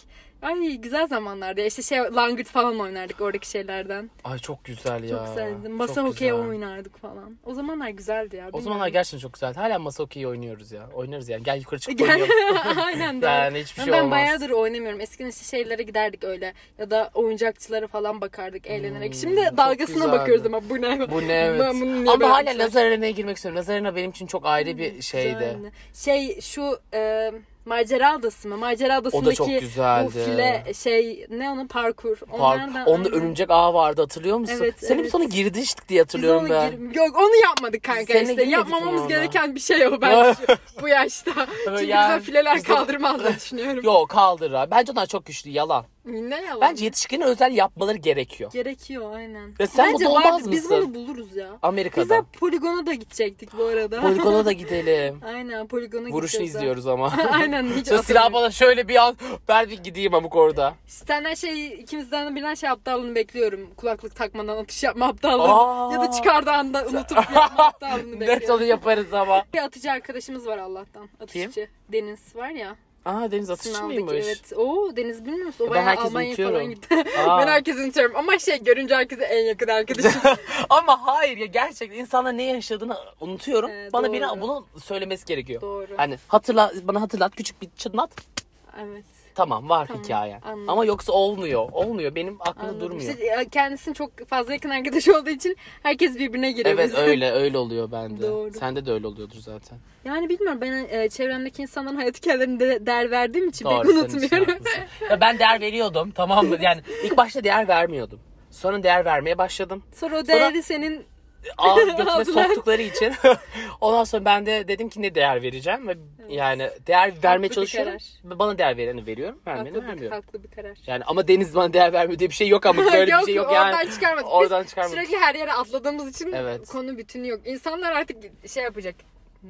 Speaker 2: Ay güzel zamanlardı. ya. İşte şey langırt falan oynardık oradaki şeylerden.
Speaker 1: Ay çok güzel ya.
Speaker 2: Çok güzeldi. Masa
Speaker 1: Çok
Speaker 2: hokeyi
Speaker 1: güzel.
Speaker 2: oynardık falan. O zamanlar güzeldi ya.
Speaker 1: O
Speaker 2: bilmiyorum.
Speaker 1: zamanlar gerçekten çok güzeldi. Hala masa hokeyi oynuyoruz ya. Oynarız yani. Gel yukarı çıkıp
Speaker 2: Gel.
Speaker 1: oynayalım.
Speaker 2: Aynen doğru.
Speaker 1: Yani hiçbir şey
Speaker 2: ben
Speaker 1: olmaz.
Speaker 2: bayağıdır oynamıyorum. Eskiden işte şeylere giderdik öyle. Ya da oyuncakçılara falan bakardık eğlenerek. Şimdi
Speaker 1: Hmm, çok
Speaker 2: dalgasına
Speaker 1: güzeldi.
Speaker 2: bakıyoruz ama bu ne?
Speaker 1: Bu ne evet.
Speaker 2: Ben bunu niye
Speaker 1: Ama
Speaker 2: böyle
Speaker 1: hala
Speaker 2: yapmışlar?
Speaker 1: lazer arenaya girmek istiyorum. Lazer arena benim için çok ayrı bir şeydi.
Speaker 2: Güzeldi. Şey şu e, Macera Adası mı? Macera
Speaker 1: O
Speaker 2: Adası'ndaki
Speaker 1: da çok güzeldi.
Speaker 2: O file şey ne onun parkur.
Speaker 1: Park.
Speaker 2: Onlardan
Speaker 1: Onda
Speaker 2: aynen.
Speaker 1: örümcek ağ vardı hatırlıyor musun?
Speaker 2: Evet,
Speaker 1: Senin
Speaker 2: evet.
Speaker 1: bir sonra girdik diye
Speaker 2: Biz
Speaker 1: hatırlıyorum
Speaker 2: onu
Speaker 1: ben.
Speaker 2: gir- Yok onu yapmadık kanka
Speaker 1: Seninle
Speaker 2: işte.
Speaker 1: girmedik mi
Speaker 2: Yapmamamız
Speaker 1: ona?
Speaker 2: gereken bir şey o ben şu- bu yaşta. Çünkü
Speaker 1: yani-
Speaker 2: bize fileler
Speaker 1: bize-
Speaker 2: kaldırmaz da düşünüyorum.
Speaker 1: Yok kaldır abi. Bence onlar çok güçlü yalan.
Speaker 2: Ne yalan.
Speaker 1: Bence yetişkine özel yapmaları gerekiyor.
Speaker 2: gerekiyor aynen.
Speaker 1: Ya sen
Speaker 2: Bence
Speaker 1: mutlu
Speaker 2: vardır,
Speaker 1: olmaz
Speaker 2: Biz
Speaker 1: mısın?
Speaker 2: bunu buluruz ya. Biz de
Speaker 1: Amerika'da.
Speaker 2: poligona da gidecektik bu arada.
Speaker 1: Poligona da gidelim.
Speaker 2: Aynen poligona
Speaker 1: Vuruşunu
Speaker 2: gideceğiz ha.
Speaker 1: izliyoruz ama.
Speaker 2: Aynen hiç
Speaker 1: Sonra silah
Speaker 2: atamıyorum.
Speaker 1: bana şöyle bir an ver bir gideyim amık orada.
Speaker 2: Senden şey ikimizden bilen şey aptallığını bekliyorum. Kulaklık takmadan atış yapma aptallığını.
Speaker 1: Aa.
Speaker 2: Ya da çıkardığı anda unutup yapma aptallığını
Speaker 1: Dert onu
Speaker 2: bekliyorum.
Speaker 1: yaparız ama.
Speaker 2: Bir atıcı arkadaşımız var Allah'tan. Atışçı. Deniz var ya.
Speaker 1: Aa Deniz atışçı
Speaker 2: sınavdaki,
Speaker 1: mıymış?
Speaker 2: Evet. Oo Deniz bilmiyor musun? O
Speaker 1: Ben
Speaker 2: bayağı
Speaker 1: herkesi
Speaker 2: Almanya'ya
Speaker 1: unutuyorum.
Speaker 2: falan gitti.
Speaker 1: Aa.
Speaker 2: ben herkesi unutuyorum. Ama şey görünce herkese en yakın arkadaşım.
Speaker 1: Ama hayır ya gerçekten insanlar ne yaşadığını unutuyorum.
Speaker 2: Ee,
Speaker 1: bana
Speaker 2: doğru.
Speaker 1: biri bunu söylemesi gerekiyor.
Speaker 2: Doğru.
Speaker 1: Hani hatırla bana hatırlat küçük bir çınlat.
Speaker 2: evet.
Speaker 1: Tamam var
Speaker 2: Tamam,
Speaker 1: hikaye.
Speaker 2: anladım.
Speaker 1: Ama yoksa olmuyor. Olmuyor. Benim aklımda
Speaker 2: anladım.
Speaker 1: durmuyor.
Speaker 2: İşte, e, kendisinin çok fazla yakın arkadaş olduğu için herkes birbirine giriyor.
Speaker 1: Evet
Speaker 2: Biz-
Speaker 1: öyle öyle oluyor bende.
Speaker 2: Doğru.
Speaker 1: Sende de öyle oluyordur zaten.
Speaker 2: Yani bilmiyorum ben e, çevremdeki insanların hayat hikayelerine de değer verdiğim için
Speaker 1: Doğru,
Speaker 2: pek
Speaker 1: senin için
Speaker 2: unutmuyorum.
Speaker 1: haklısın. ya ben değer veriyordum tamam mı? Yani ilk başta değer vermiyordum. Sonra değer vermeye başladım.
Speaker 2: Sonra o
Speaker 1: Sonra-
Speaker 2: değeri senin
Speaker 1: Ağız götüme
Speaker 2: Aldılar.
Speaker 1: soktukları için. Ondan sonra ben de dedim ki ne değer vereceğim ve yani değer vermeye
Speaker 2: bir
Speaker 1: çalışıyorum. Bana değer vereni veriyorum, vermeyeni
Speaker 2: haklı bir,
Speaker 1: vermiyorum.
Speaker 2: haklı bir karar.
Speaker 1: Yani ama Deniz bana değer vermiyor diye bir şey yok ama böyle bir şey yok yani.
Speaker 2: Oradan çıkarmadık. Biz
Speaker 1: Oradan çıkarmadık.
Speaker 2: Sürekli her yere atladığımız için
Speaker 1: Evet.
Speaker 2: konu bütünü yok. İnsanlar artık şey yapacak.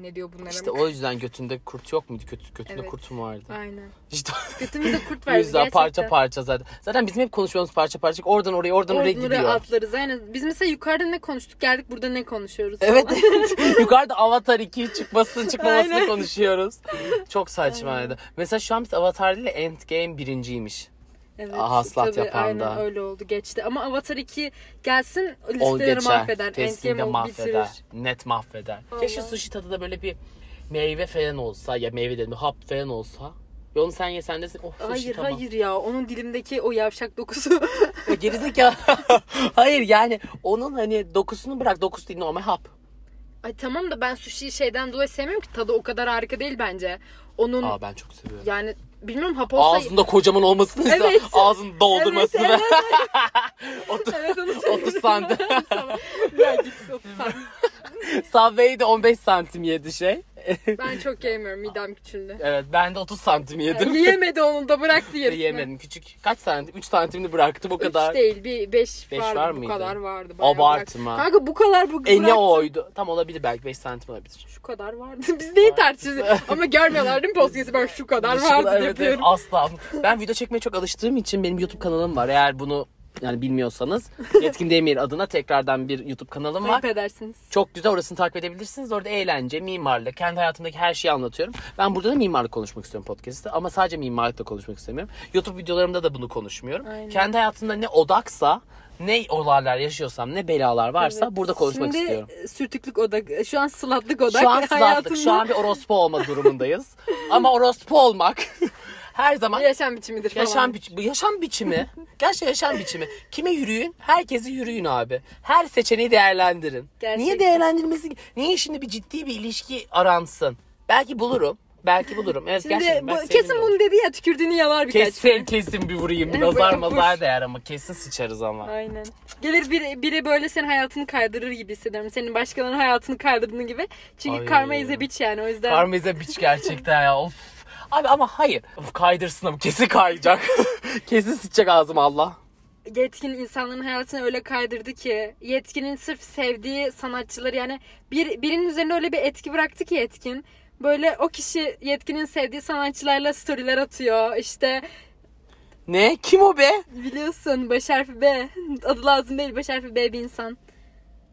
Speaker 2: Ne diyor bunlara?
Speaker 1: İşte o yüzden götünde kurt yok muydu? Kötü, götünde
Speaker 2: Evet.
Speaker 1: kurt mu vardı?
Speaker 2: Aynen.
Speaker 1: İşte
Speaker 2: Götümüzde kurt
Speaker 1: o
Speaker 2: var.
Speaker 1: yüzden
Speaker 2: gerçekten.
Speaker 1: parça parça zaten. Zaten bizim hep konuşuyoruz parça parça. Oradan oraya, oradan oraya
Speaker 2: Oradan oraya
Speaker 1: gidiyor.
Speaker 2: atlarız. Aynen. Biz mesela yukarıda ne konuştuk geldik burada ne konuşuyoruz.
Speaker 1: Evet
Speaker 2: falan.
Speaker 1: evet. Yukarıda Avatar 2 çıkmasını çıkmamasını
Speaker 2: Aynen.
Speaker 1: konuşuyoruz. Çok saçmaydı. Mesela şu an biz Avatar değil de Endgame birinciymiş.
Speaker 2: evet
Speaker 1: Haslat
Speaker 2: tabii,
Speaker 1: yapan
Speaker 2: aynen
Speaker 1: da.
Speaker 2: öyle oldu geçti. Ama Avatar 2 gelsin
Speaker 1: O
Speaker 2: listeleri
Speaker 1: geçer.
Speaker 2: mahveder.
Speaker 1: Kesinlikle
Speaker 2: Endgame'i
Speaker 1: mahveder.
Speaker 2: bitirir.
Speaker 1: Net mahveder. Keşke sushi tadı da böyle bir meyve falan olsa ya meyve dedim hap falan olsa. Ve onu sen yesen desin oh sushi
Speaker 2: Hayır
Speaker 1: tamam.
Speaker 2: hayır ya onun dilimdeki o yavşak dokusu.
Speaker 1: Ya Gerizekalı. hayır yani onun hani dokusunu bırak dokusu değil normal hap.
Speaker 2: Ay tamam da ben sushi'yi şeyden dolayı sevmiyorum ki tadı o kadar harika değil bence. Onun
Speaker 1: Aa ben çok seviyorum.
Speaker 2: yani bilmiyorum hap olsa...
Speaker 1: Ağzında kocaman olmasını
Speaker 2: Evet.
Speaker 1: ağzını doldurmasını.
Speaker 2: Evet,
Speaker 1: Otur,
Speaker 2: Evet onu söylüyorum.
Speaker 1: 30 santim.
Speaker 2: Ya git, otuz santim.
Speaker 1: Subway'de 15 santim yedi şey.
Speaker 2: Ben çok yemiyorum midem küçüldü.
Speaker 1: Evet ben de 30 santim yedim.
Speaker 2: Yani yiyemedi onu da bıraktı yarısını.
Speaker 1: Yemedim küçük. Kaç santim? 3 santimini bıraktım o
Speaker 2: Üç
Speaker 1: kadar.
Speaker 2: değil bir beş,
Speaker 1: Beş
Speaker 2: vardı,
Speaker 1: var
Speaker 2: bu
Speaker 1: mıydı?
Speaker 2: kadar vardı. bayağı
Speaker 1: Abartma.
Speaker 2: bıraktı. Kanka bu kadar bu
Speaker 1: E ne
Speaker 2: bıraktı.
Speaker 1: oydu? Tam olabilir belki 5 santim olabilir.
Speaker 2: Şu kadar vardı. Biz neyi tartışıyoruz? Ama görmüyorlar değil mi podcast'ı? Ben şu kadar
Speaker 1: Şu
Speaker 2: vardı
Speaker 1: kadar, evet, evet,
Speaker 2: yapıyorum.
Speaker 1: asla. Ben video çekmeye çok alıştığım için benim YouTube kanalım var. Eğer bunu yani bilmiyorsanız Yetkin Demir adına tekrardan bir YouTube kanalım var.
Speaker 2: Ayıp edersiniz.
Speaker 1: Çok güzel orasını takip edebilirsiniz. Orada eğlence, mimarlık, kendi hayatımdaki her şeyi anlatıyorum. Ben burada da mimarlık konuşmak istiyorum podcast'te ama sadece mimarlıkla konuşmak istemiyorum. YouTube videolarımda da bunu konuşmuyorum.
Speaker 2: Aynen.
Speaker 1: Kendi hayatımda ne odaksa, ne olaylar yaşıyorsam, ne belalar varsa
Speaker 2: Evet.
Speaker 1: burada konuşmak
Speaker 2: Şimdi
Speaker 1: istiyorum.
Speaker 2: sürtüklük odak, şu an sılatlık odak.
Speaker 1: Şu an sınavdık,
Speaker 2: Hayatımda-
Speaker 1: şu an bir orospu olma durumundayız. ama orospu olmak her zaman
Speaker 2: Yaşam biçimidir falan.
Speaker 1: yaşam biç- bu yaşam biçimi. Gerçi yaşam biçimi. Kime yürüyün? Herkesi yürüyün abi. Her seçeneği değerlendirin. Niye
Speaker 2: Gerçekten.
Speaker 1: değerlendirmesi? Niye şimdi bir ciddi bir ilişki aransın? Belki bulurum. Belki bulurum. Evet
Speaker 2: Şimdi
Speaker 1: gerçekten.
Speaker 2: bu,
Speaker 1: belki
Speaker 2: kesin
Speaker 1: sevgili
Speaker 2: bunu dedi ya tükürdüğünü yalar birkaç.
Speaker 1: Kesin kesin bir vurayım.
Speaker 2: Evet,
Speaker 1: Nazar
Speaker 2: vur.
Speaker 1: mazar değer ama kesin sıçarız ama.
Speaker 2: Aynen. Gelir biri, biri böyle senin hayatını kaydırır gibi hissediyorum. Senin başkalarının hayatını kaydırdığın gibi. Çünkü
Speaker 1: Ay.
Speaker 2: karma is a bitch yani o yüzden.
Speaker 1: Parmeze biç gerçekten ya of. Abi ama hayır. Of, kaydırsın ama kesin kayacak. kesin sıçacak ağzıma Allah.
Speaker 2: yetkin insanların hayatını öyle kaydırdı ki yetkinin sırf sevdiği sanatçıları yani bir birinin üzerine öyle bir etki bıraktı ki yetkin böyle o kişi yetkinin sevdiği sanatçılarla storyler atıyor işte
Speaker 1: Ne? Kim o be?
Speaker 2: biliyorsun baş harfi B adı lazım değil baş harfi B bir insan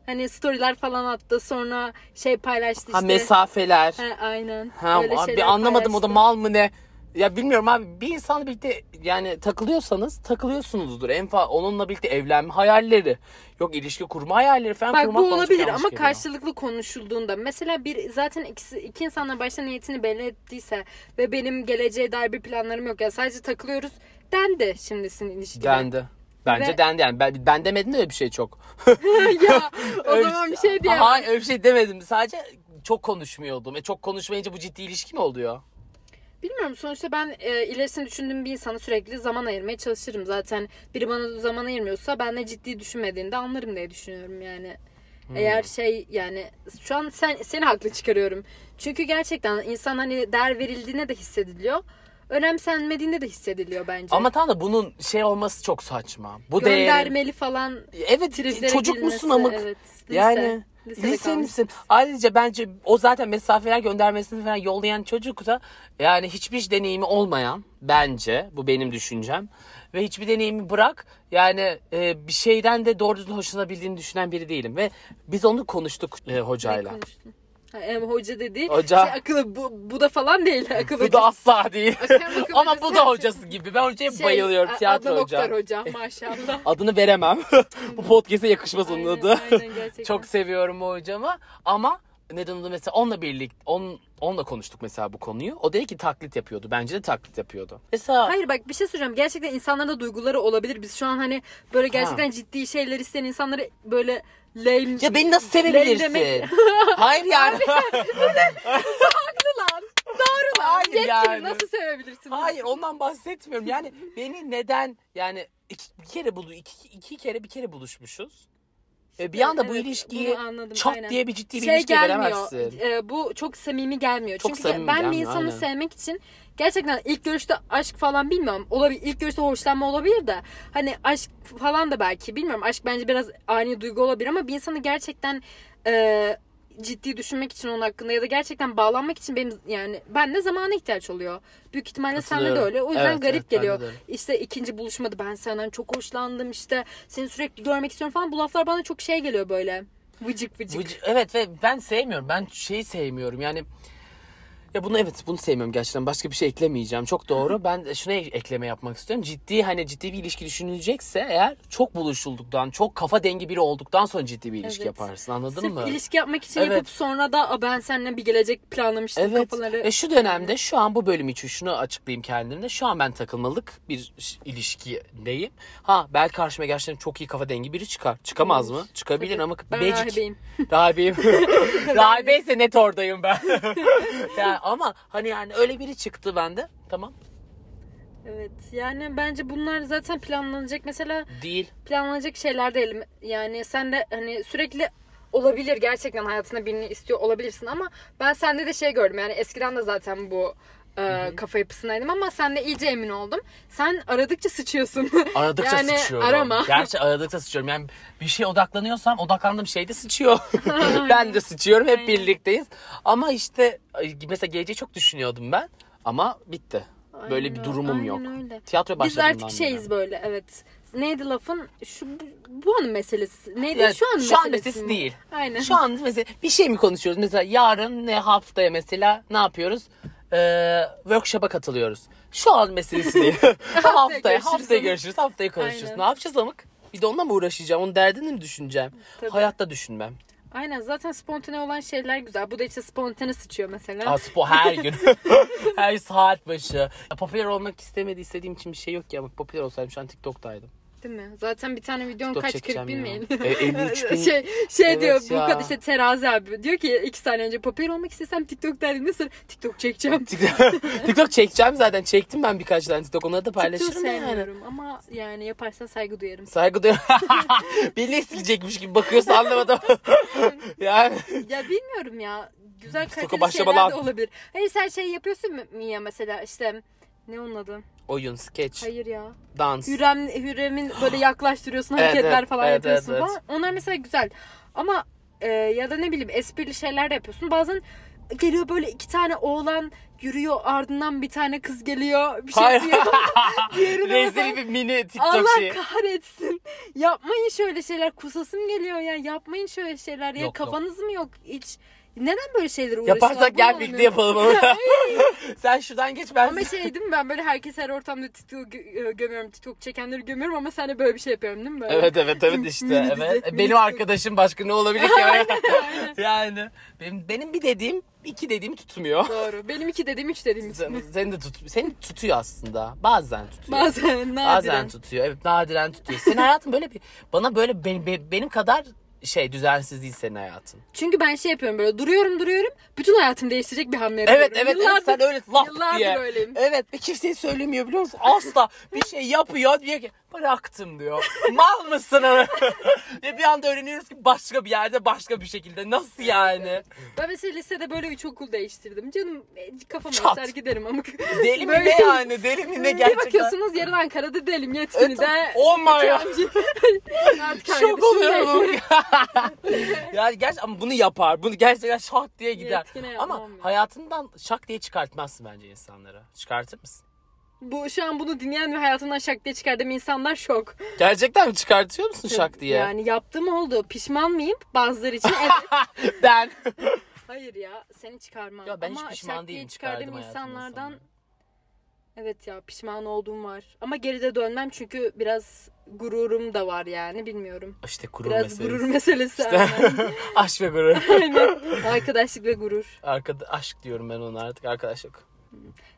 Speaker 2: hani storyler falan attı sonra şey paylaştı işte
Speaker 1: Ha mesafeler.
Speaker 2: He, aynen
Speaker 1: Ha
Speaker 2: Böyle
Speaker 1: abi
Speaker 2: şeyler
Speaker 1: anlamadım o da
Speaker 2: paylaştı.
Speaker 1: mal mı ne? Ya bilmiyorum abi bir insanla birlikte yani takılıyorsanız takılıyorsunuzdur. En fa onunla birlikte evlenme hayalleri. Yok ilişki kurma hayalleri falan
Speaker 2: Bak
Speaker 1: kurmak
Speaker 2: bu
Speaker 1: bana çok
Speaker 2: olabilir
Speaker 1: yanlış
Speaker 2: ama
Speaker 1: geliyor.
Speaker 2: karşılıklı konuşulduğunda mesela bir zaten ikisi, iki insanla başta niyetini belli ettiyse ve benim geleceğe dair bir planlarım yok ya sadece takılıyoruz dendi şimdisin ilişkide.
Speaker 1: Dendi. Bence
Speaker 2: Ve-
Speaker 1: dendi yani. Ben, ben demedim de öyle bir şey çok.
Speaker 2: ya o
Speaker 1: Öyle
Speaker 2: zaman bir şey diyemem.
Speaker 1: Hayır öyle bir şey demedim. Sadece çok konuşmuyordum. E çok konuşmayınca bu ciddi ilişki mi oluyor?
Speaker 2: Bilmiyorum sonuçta ben e, ilerisini düşündüğüm bir insana sürekli zaman ayırmaya çalışırım. Zaten biri bana zaman ayırmıyorsa ben de ciddi düşünmediğini de anlarım diye düşünüyorum yani.
Speaker 1: Hmm.
Speaker 2: Eğer şey yani şu an sen seni haklı çıkarıyorum. Çünkü gerçekten insan hani değer verildiğine de hissediliyor. Önemsenmediğinde de hissediliyor bence.
Speaker 1: Ama tam da bunun şey olması çok saçma. Bu değerin
Speaker 2: göndermeli falan
Speaker 1: Evet
Speaker 2: triplere
Speaker 1: çocuk
Speaker 2: girmesi,
Speaker 1: musun amık?
Speaker 2: Evet. Lise.
Speaker 1: Yani
Speaker 2: Lisede
Speaker 1: lise
Speaker 2: kalmış.
Speaker 1: misin? Ayrıca bence o zaten mesafeler göndermesini falan yollayan çocuk da yani hiçbir deneyimi olmayan bence bu benim düşüncem ve hiçbir deneyimi bırak yani e, bir şeyden de doğru düzgün hoşlanabildiğini düşünen biri değilim ve biz onu konuştuk e,
Speaker 2: Ne
Speaker 1: hocayla.
Speaker 2: konuştun? Ha, em, hoca dedi.
Speaker 1: Hoca.
Speaker 2: Şey, akıllı bu, bu da falan değil. Akıllı
Speaker 1: Bu da asla değil.
Speaker 2: Akademik
Speaker 1: Ama bu da
Speaker 2: hocası-
Speaker 1: hocası gibi. Ben hocaya
Speaker 2: Şey,
Speaker 1: bayılıyorum.
Speaker 2: A-
Speaker 1: Tiyatro
Speaker 2: Adnan
Speaker 1: hoca.
Speaker 2: Oktar hocam maşallah.
Speaker 1: Adını veremem. bu podcast'e yakışmaz onun
Speaker 2: Aynen,
Speaker 1: adı.
Speaker 2: aynen, gerçekten.
Speaker 1: Çok seviyorum o hocamı ama neden onu mesela onunla birlikte on, onunla konuştuk mesela bu konuyu. O dedi ki taklit yapıyordu. Bence de taklit yapıyordu. Mesela
Speaker 2: Hayır bak bir şey söyleyeceğim. Gerçekten insanların da duyguları olabilir. Biz şu an hani böyle gerçekten ciddi şeyler isteyen insanları böyle lame...
Speaker 1: ya beni nasıl sevebilirsin?
Speaker 2: Leylemek-
Speaker 1: Hayır yani.
Speaker 2: Haklı lan. Doğru lan.
Speaker 1: Hayır
Speaker 2: Yetkin
Speaker 1: yani.
Speaker 2: nasıl sevebilirsin?
Speaker 1: Hayır ondan bahsetmiyorum. Yani beni neden yani iki, bir kere bulu iki, iki kere bir kere buluşmuşuz. E, bir anda bu
Speaker 2: evet,
Speaker 1: ilişkiyi
Speaker 2: bunu anladım,
Speaker 1: çat
Speaker 2: aynen.
Speaker 1: diye bir ciddi bir
Speaker 2: şey
Speaker 1: ilişkiye
Speaker 2: gelmiyor.
Speaker 1: veremezsin.
Speaker 2: e, bu çok samimi gelmiyor.
Speaker 1: Çok
Speaker 2: Çünkü
Speaker 1: samimi
Speaker 2: ben bir
Speaker 1: gelmiyor,
Speaker 2: insanı
Speaker 1: aynen.
Speaker 2: sevmek için gerçekten ilk görüşte aşk falan bilmiyorum. Olabilir. ilk görüşte hoşlanma olabilir de hani aşk falan da belki bilmiyorum. Aşk bence biraz ani duygu olabilir ama bir insanı gerçekten e, ciddi düşünmek için onun hakkında ya da gerçekten bağlanmak için benim yani bende zamana ihtiyaç oluyor. Büyük ihtimalle sende de
Speaker 1: Katılıyorum.
Speaker 2: öyle. O yüzden
Speaker 1: Evet,
Speaker 2: garip
Speaker 1: evet, bende
Speaker 2: geliyor.
Speaker 1: de öyle.
Speaker 2: İşte ikinci buluşmada ben senden çok hoşlandım işte seni sürekli görmek istiyorum falan. Bu laflar bana çok şey geliyor böyle. Vıcık vıcık.
Speaker 1: Vıcı- evet ve ben sevmiyorum. Ben şeyi sevmiyorum. Yani ya bunu evet bunu sevmiyorum gerçekten. Başka bir şey eklemeyeceğim. Çok doğru. Ben şuna ek- ekleme yapmak istiyorum. Ciddi hani ciddi bir ilişki düşünülecekse eğer çok buluşulduktan, çok kafa dengi biri olduktan sonra ciddi bir ilişki
Speaker 2: Evet.
Speaker 1: yaparsın. Anladın
Speaker 2: Sırf
Speaker 1: mı?
Speaker 2: ilişki yapmak için
Speaker 1: Evet.
Speaker 2: yapıp sonra da "Aa, ben seninle bir gelecek planlamıştım
Speaker 1: Evet.
Speaker 2: kafaları.
Speaker 1: Ve şu dönemde şu an bu bölüm için şunu açıklayayım kendimde. Şu an ben takılmalık bir ş- ilişkideyim. Ha belki karşıma gerçekten çok iyi kafa dengi biri çıkar. Çıkamaz mı? Çıkabilir
Speaker 2: Tabii.
Speaker 1: ama
Speaker 2: ben
Speaker 1: becik.
Speaker 2: rahibeyim.
Speaker 1: Rahibeyim. Rahibeyse net oradayım ben. yani ama hani yani öyle biri çıktı bende. Tamam.
Speaker 2: Evet yani bence bunlar zaten planlanacak mesela
Speaker 1: Değil.
Speaker 2: planlanacak şeyler değil. Yani sen de hani sürekli olabilir gerçekten hayatına birini istiyor olabilirsin ama ben sende de şey gördüm yani eskiden de zaten bu e, kafa yapısındaydım ama sen de iyice emin oldum. Sen aradıkça sıçıyorsun.
Speaker 1: Aradıkça
Speaker 2: Yani
Speaker 1: sıçıyorum.
Speaker 2: arama.
Speaker 1: Gerçi aradıkça sıçıyorum. Yani bir şeye odaklanıyorsam odaklandığım şey de sıçıyor. ben de sıçıyorum. Hep
Speaker 2: Aynen.
Speaker 1: birlikteyiz. Ama işte ay, mesela geleceği çok düşünüyordum ben. Ama bitti. Böyle
Speaker 2: Aynen,
Speaker 1: bir durumum
Speaker 2: aynen
Speaker 1: yok.
Speaker 2: öyle.
Speaker 1: Tiyatro
Speaker 2: Biz
Speaker 1: başladığımdan
Speaker 2: artık şeyiz böyle evet. Neydi lafın? Şu bu anın meselesi. Neydi?
Speaker 1: Ya,
Speaker 2: şu an
Speaker 1: şu an
Speaker 2: meselesi,
Speaker 1: meselesi
Speaker 2: mi?
Speaker 1: değil.
Speaker 2: Aynen.
Speaker 1: Şu an mesela bir şey mi konuşuyoruz? Mesela yarın ne haftaya mesela ne yapıyoruz? Ee, workshop'a katılıyoruz. Şu an meselesi değil. haftaya, haftaya,
Speaker 2: görüşürüz.
Speaker 1: haftaya görüşürüz. Haftaya konuşuruz.
Speaker 2: Aynen.
Speaker 1: Ne yapacağız amık? Bir de onunla mı uğraşacağım? Onun derdini mi düşüneceğim?
Speaker 2: Tabii.
Speaker 1: Hayatta düşünmem.
Speaker 2: Aynen zaten spontane olan şeyler güzel. Bu da işte spontane sıçıyor mesela.
Speaker 1: Aspo her gün. her saat başı. Ya, popüler olmak istemedi istediğim için bir şey yok ya. Bak popüler olsaydım şu an TikTok'taydım.
Speaker 2: Değil mi? Zaten bir tane videon
Speaker 1: TikTok
Speaker 2: kaç
Speaker 1: çekeceğim
Speaker 2: 40 bin
Speaker 1: ya.
Speaker 2: mi?
Speaker 1: E, 53 bin.
Speaker 2: şey şey
Speaker 1: Evet
Speaker 2: diyor bu
Speaker 1: ya.
Speaker 2: kadar işte terazi abi diyor ki iki sene önce popüler olmak istesem TikTok derdim nasıl TikTok çekeceğim.
Speaker 1: TikTok çekeceğim zaten. Çektim ben birkaç tane TikTok. Onları da
Speaker 2: TikTok'u
Speaker 1: paylaşırım yani.
Speaker 2: sevmiyorum ama yani yaparsan saygı duyarım.
Speaker 1: Saygı duyuyorum. Belli silecekmiş gibi bakıyorsun anlamadım. yani
Speaker 2: ya bilmiyorum ya. Güzel
Speaker 1: TikTok'a
Speaker 2: kaliteli şeyler
Speaker 1: başlamadan.
Speaker 2: de olabilir. Hayır sen şey yapıyorsun mu ya mesela işte ne onun adı?
Speaker 1: oyun, skeç,
Speaker 2: Hayır ya.
Speaker 1: dans.
Speaker 2: Hürrem, Hürrem'in böyle yaklaştırıyorsun
Speaker 1: Evet,
Speaker 2: hareketler
Speaker 1: evet,
Speaker 2: falan
Speaker 1: evet,
Speaker 2: yapıyorsun
Speaker 1: evet,
Speaker 2: falan. Onlar mesela güzel. Ama e, ya da ne bileyim esprili şeyler de yapıyorsun. Bazen geliyor böyle iki tane oğlan yürüyor ardından bir tane kız geliyor bir şey
Speaker 1: Hayır.
Speaker 2: diyor. Diğerine mesela-
Speaker 1: Rezil bir mini TikTok
Speaker 2: Allah
Speaker 1: şeyi.
Speaker 2: kahretsin. Yapmayın şöyle şeyler. Kusasım geliyor ya. Yapmayın şöyle şeyler ya.
Speaker 1: Yok, yok.
Speaker 2: Kafanız mı yok hiç? Neden böyle şeyler uğraşıyorlar?
Speaker 1: Yaparsak gel
Speaker 2: Bu
Speaker 1: birlikte
Speaker 2: anlamıyorum.
Speaker 1: yapalım onu. Sen şuradan geç ben.
Speaker 2: Ama şey değil mi ben böyle herkes her ortamda TikTok gö- e, gömüyorum. TikTok çekenleri gömüyorum ama sen de böyle bir şey yapıyorum değil mi? Böyle?
Speaker 1: Evet evet evet işte
Speaker 2: Mini dizi,
Speaker 1: evet.
Speaker 2: mini
Speaker 1: Benim
Speaker 2: TikTok.
Speaker 1: arkadaşım başka ne olabilir ki? yani benim, benim bir dediğim iki dediğim tutmuyor.
Speaker 2: Doğru. Benim iki dediğim üç dediğim üç.
Speaker 1: Sen- Seni de tut, seni tutuyor aslında. Bazen tutuyor.
Speaker 2: Bazen
Speaker 1: Bazen
Speaker 2: nadiren.
Speaker 1: tutuyor. Evet nadiren tutuyor. Senin hayatın böyle bir bana böyle be- be- benim kadar şey düzensiz değil senin hayatın.
Speaker 2: Çünkü ben şey yapıyorum böyle duruyorum duruyorum. Bütün hayatım değiştirecek bir hamle yapıyorum.
Speaker 1: Evet evet, evet
Speaker 2: Yıllardır-
Speaker 1: sen öyle laf
Speaker 2: yıllardır
Speaker 1: diye.
Speaker 2: öyleyim.
Speaker 1: Evet ve kimseye söylemiyor biliyor musun? Asla bir şey yapıyor diyor ki bıraktım diyor. Mal mısın? ve bir anda öğreniyoruz ki başka bir yerde başka bir şekilde. Nasıl yani?
Speaker 2: Ben mesela lisede böyle üç okul değiştirdim. Canım e, kafama
Speaker 1: Çat.
Speaker 2: eser giderim ama.
Speaker 1: Deli mi
Speaker 2: Böyle-
Speaker 1: ne yani? Deli mi ne gerçekten?
Speaker 2: Bir bakıyorsunuz yarın Ankara'da değilim yetkini
Speaker 1: Evet,
Speaker 2: de.
Speaker 1: oh my god.
Speaker 2: Artık şey.
Speaker 1: Şok
Speaker 2: arkadaşım
Speaker 1: oluyorum.
Speaker 2: değil.
Speaker 1: şey. yani gerçi ama bunu yapar. Bunu gerçekten şak diye gider.
Speaker 2: Yetkine yapmam
Speaker 1: Ama
Speaker 2: ya.
Speaker 1: hayatından şak diye çıkartmazsın bence insanlara. Çıkartır mısın?
Speaker 2: Bu şu an bunu dinleyen ve hayatımdan şak diye çıkardığım insanlar şok.
Speaker 1: Gerçekten mi çıkartıyor musun şak diye?
Speaker 2: Yani yaptığım oldu. Pişman mıyım? Bazıları için evet.
Speaker 1: ben.
Speaker 2: Hayır ya seni çıkarmam.
Speaker 1: Ya ben
Speaker 2: Ama
Speaker 1: hiç pişman
Speaker 2: şak diye
Speaker 1: değilim.
Speaker 2: çıkardığım
Speaker 1: Çıkardım hayatımdan
Speaker 2: insanlardan
Speaker 1: insanları.
Speaker 2: evet ya pişman olduğum var. Ama geride dönmem çünkü biraz gururum da var yani bilmiyorum.
Speaker 1: İşte gurur
Speaker 2: Biraz
Speaker 1: meselesi.
Speaker 2: gurur meselesi.
Speaker 1: Aşk ve gurur.
Speaker 2: Aynen. Arkadaşlık ve gurur.
Speaker 1: Arkada, aşk diyorum ben ona artık arkadaşlık.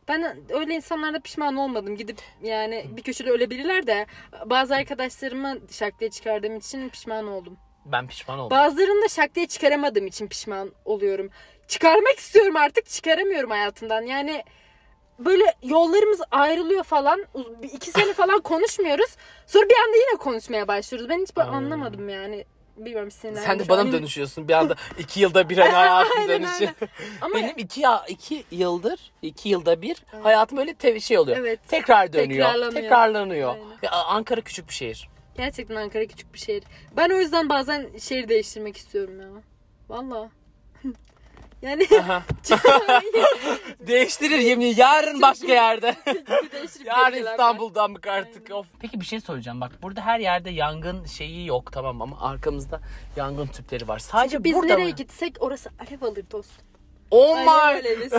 Speaker 2: Ben öyle insanlarla pişman olmadım. Gidip yani bir köşede ölebilirler de bazı arkadaşlarımı şak diye çıkardığım için pişman oldum.
Speaker 1: Ben pişman oldum.
Speaker 2: Bazılarını da şak diye çıkaramadığım için pişman oluyorum. Çıkarmak istiyorum artık çıkaramıyorum hayatımdan. Yani böyle yollarımız ayrılıyor falan. Uz- bir iki sene falan konuşmuyoruz. Sonra bir anda yine konuşmaya başlıyoruz. Ben hiç bu-
Speaker 1: Aynen.
Speaker 2: anlamadım yani. Bilmiyorum sinirlendim.
Speaker 1: Sen de
Speaker 2: şu
Speaker 1: bana
Speaker 2: an.
Speaker 1: mı dönüşüyorsun bir anda iki yılda bir hani hayatın
Speaker 2: Aynen,
Speaker 1: dönüşü.
Speaker 2: Ama
Speaker 1: Benim iki, ya- iki yıldır, iki yılda bir hayatım öyle te- şey oluyor.
Speaker 2: Evet.
Speaker 1: Tekrar dönüyor.
Speaker 2: Tekrarlanıyor.
Speaker 1: Tekrarlanıyor.
Speaker 2: Aynen.
Speaker 1: Ya, Ankara küçük bir şehir.
Speaker 2: Gerçekten Ankara küçük bir şehir. Ben o yüzden bazen şehir değiştirmek istiyorum ya. Valla. yani
Speaker 1: Aha. Değiştirir yemin yarın başka yerde.
Speaker 2: değiştirip
Speaker 1: Yarın
Speaker 2: geliyorlar.
Speaker 1: İstanbul'dan mı artık of. Peki bir şey söyleyeceğim bak burada her yerde yangın şeyi yok tamam ama arkamızda yangın tüpleri var. Sadece
Speaker 2: Biz
Speaker 1: burada
Speaker 2: nereye
Speaker 1: mı?
Speaker 2: gitsek orası alev alır dostum.
Speaker 1: Oh
Speaker 2: Aynen
Speaker 1: my.
Speaker 2: öyle biz.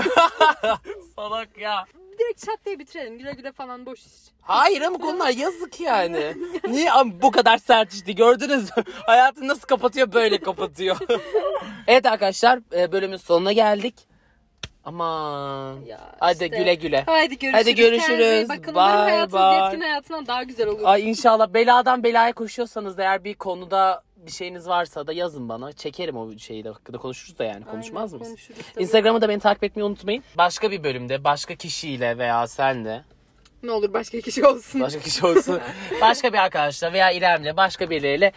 Speaker 1: Salak ya.
Speaker 2: Direkt çat diye bitirelim. Güle güle falan boş iş.
Speaker 1: Hayır ama konular yazık yani. Niye am- bu kadar sert işte gördünüz mü? Hayatı nasıl kapatıyor böyle kapatıyor. evet arkadaşlar e, bölümün sonuna geldik. Aman.
Speaker 2: Ya
Speaker 1: Hadi
Speaker 2: işte.
Speaker 1: güle güle.
Speaker 2: Haydi görüşürüz.
Speaker 1: Hadi görüşürüz.
Speaker 2: Kendinize iyi Bakın umarım
Speaker 1: Bye
Speaker 2: hayatınız
Speaker 1: bye.
Speaker 2: yetkin hayatından daha güzel olur.
Speaker 1: Ay inşallah beladan belaya koşuyorsanız da eğer bir konuda bir şeyiniz varsa da yazın bana. Çekerim o şeyi de hakkında konuşuruz da yani konuşmaz
Speaker 2: Aynen,
Speaker 1: mıyız?
Speaker 2: Konuşuruz tabii.
Speaker 1: Instagram'ı da beni takip etmeyi unutmayın. Başka bir bölümde başka kişiyle veya senle
Speaker 2: Ne olur başka kişi olsun.
Speaker 1: başka kişi olsun. başka bir arkadaşla veya İrem'le başka birileriyle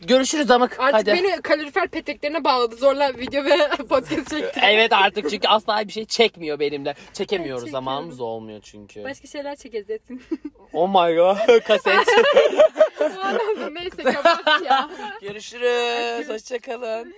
Speaker 1: görüşürüz Amık.
Speaker 2: Artık
Speaker 1: Hadi.
Speaker 2: beni kalorifer peteklerine bağladı. Zorla video ve podcast çekti.
Speaker 1: Evet artık çünkü asla bir şey çekmiyor benimle. Çekemiyoruz
Speaker 2: Çekiyorum.
Speaker 1: zamanımız olmuyor çünkü.
Speaker 2: Başka şeyler çekeriz etkin.
Speaker 1: Oh my god kaset.
Speaker 2: Bu anlamda neyse kapat ya.
Speaker 1: Görüşürüz. Hoşçakalın.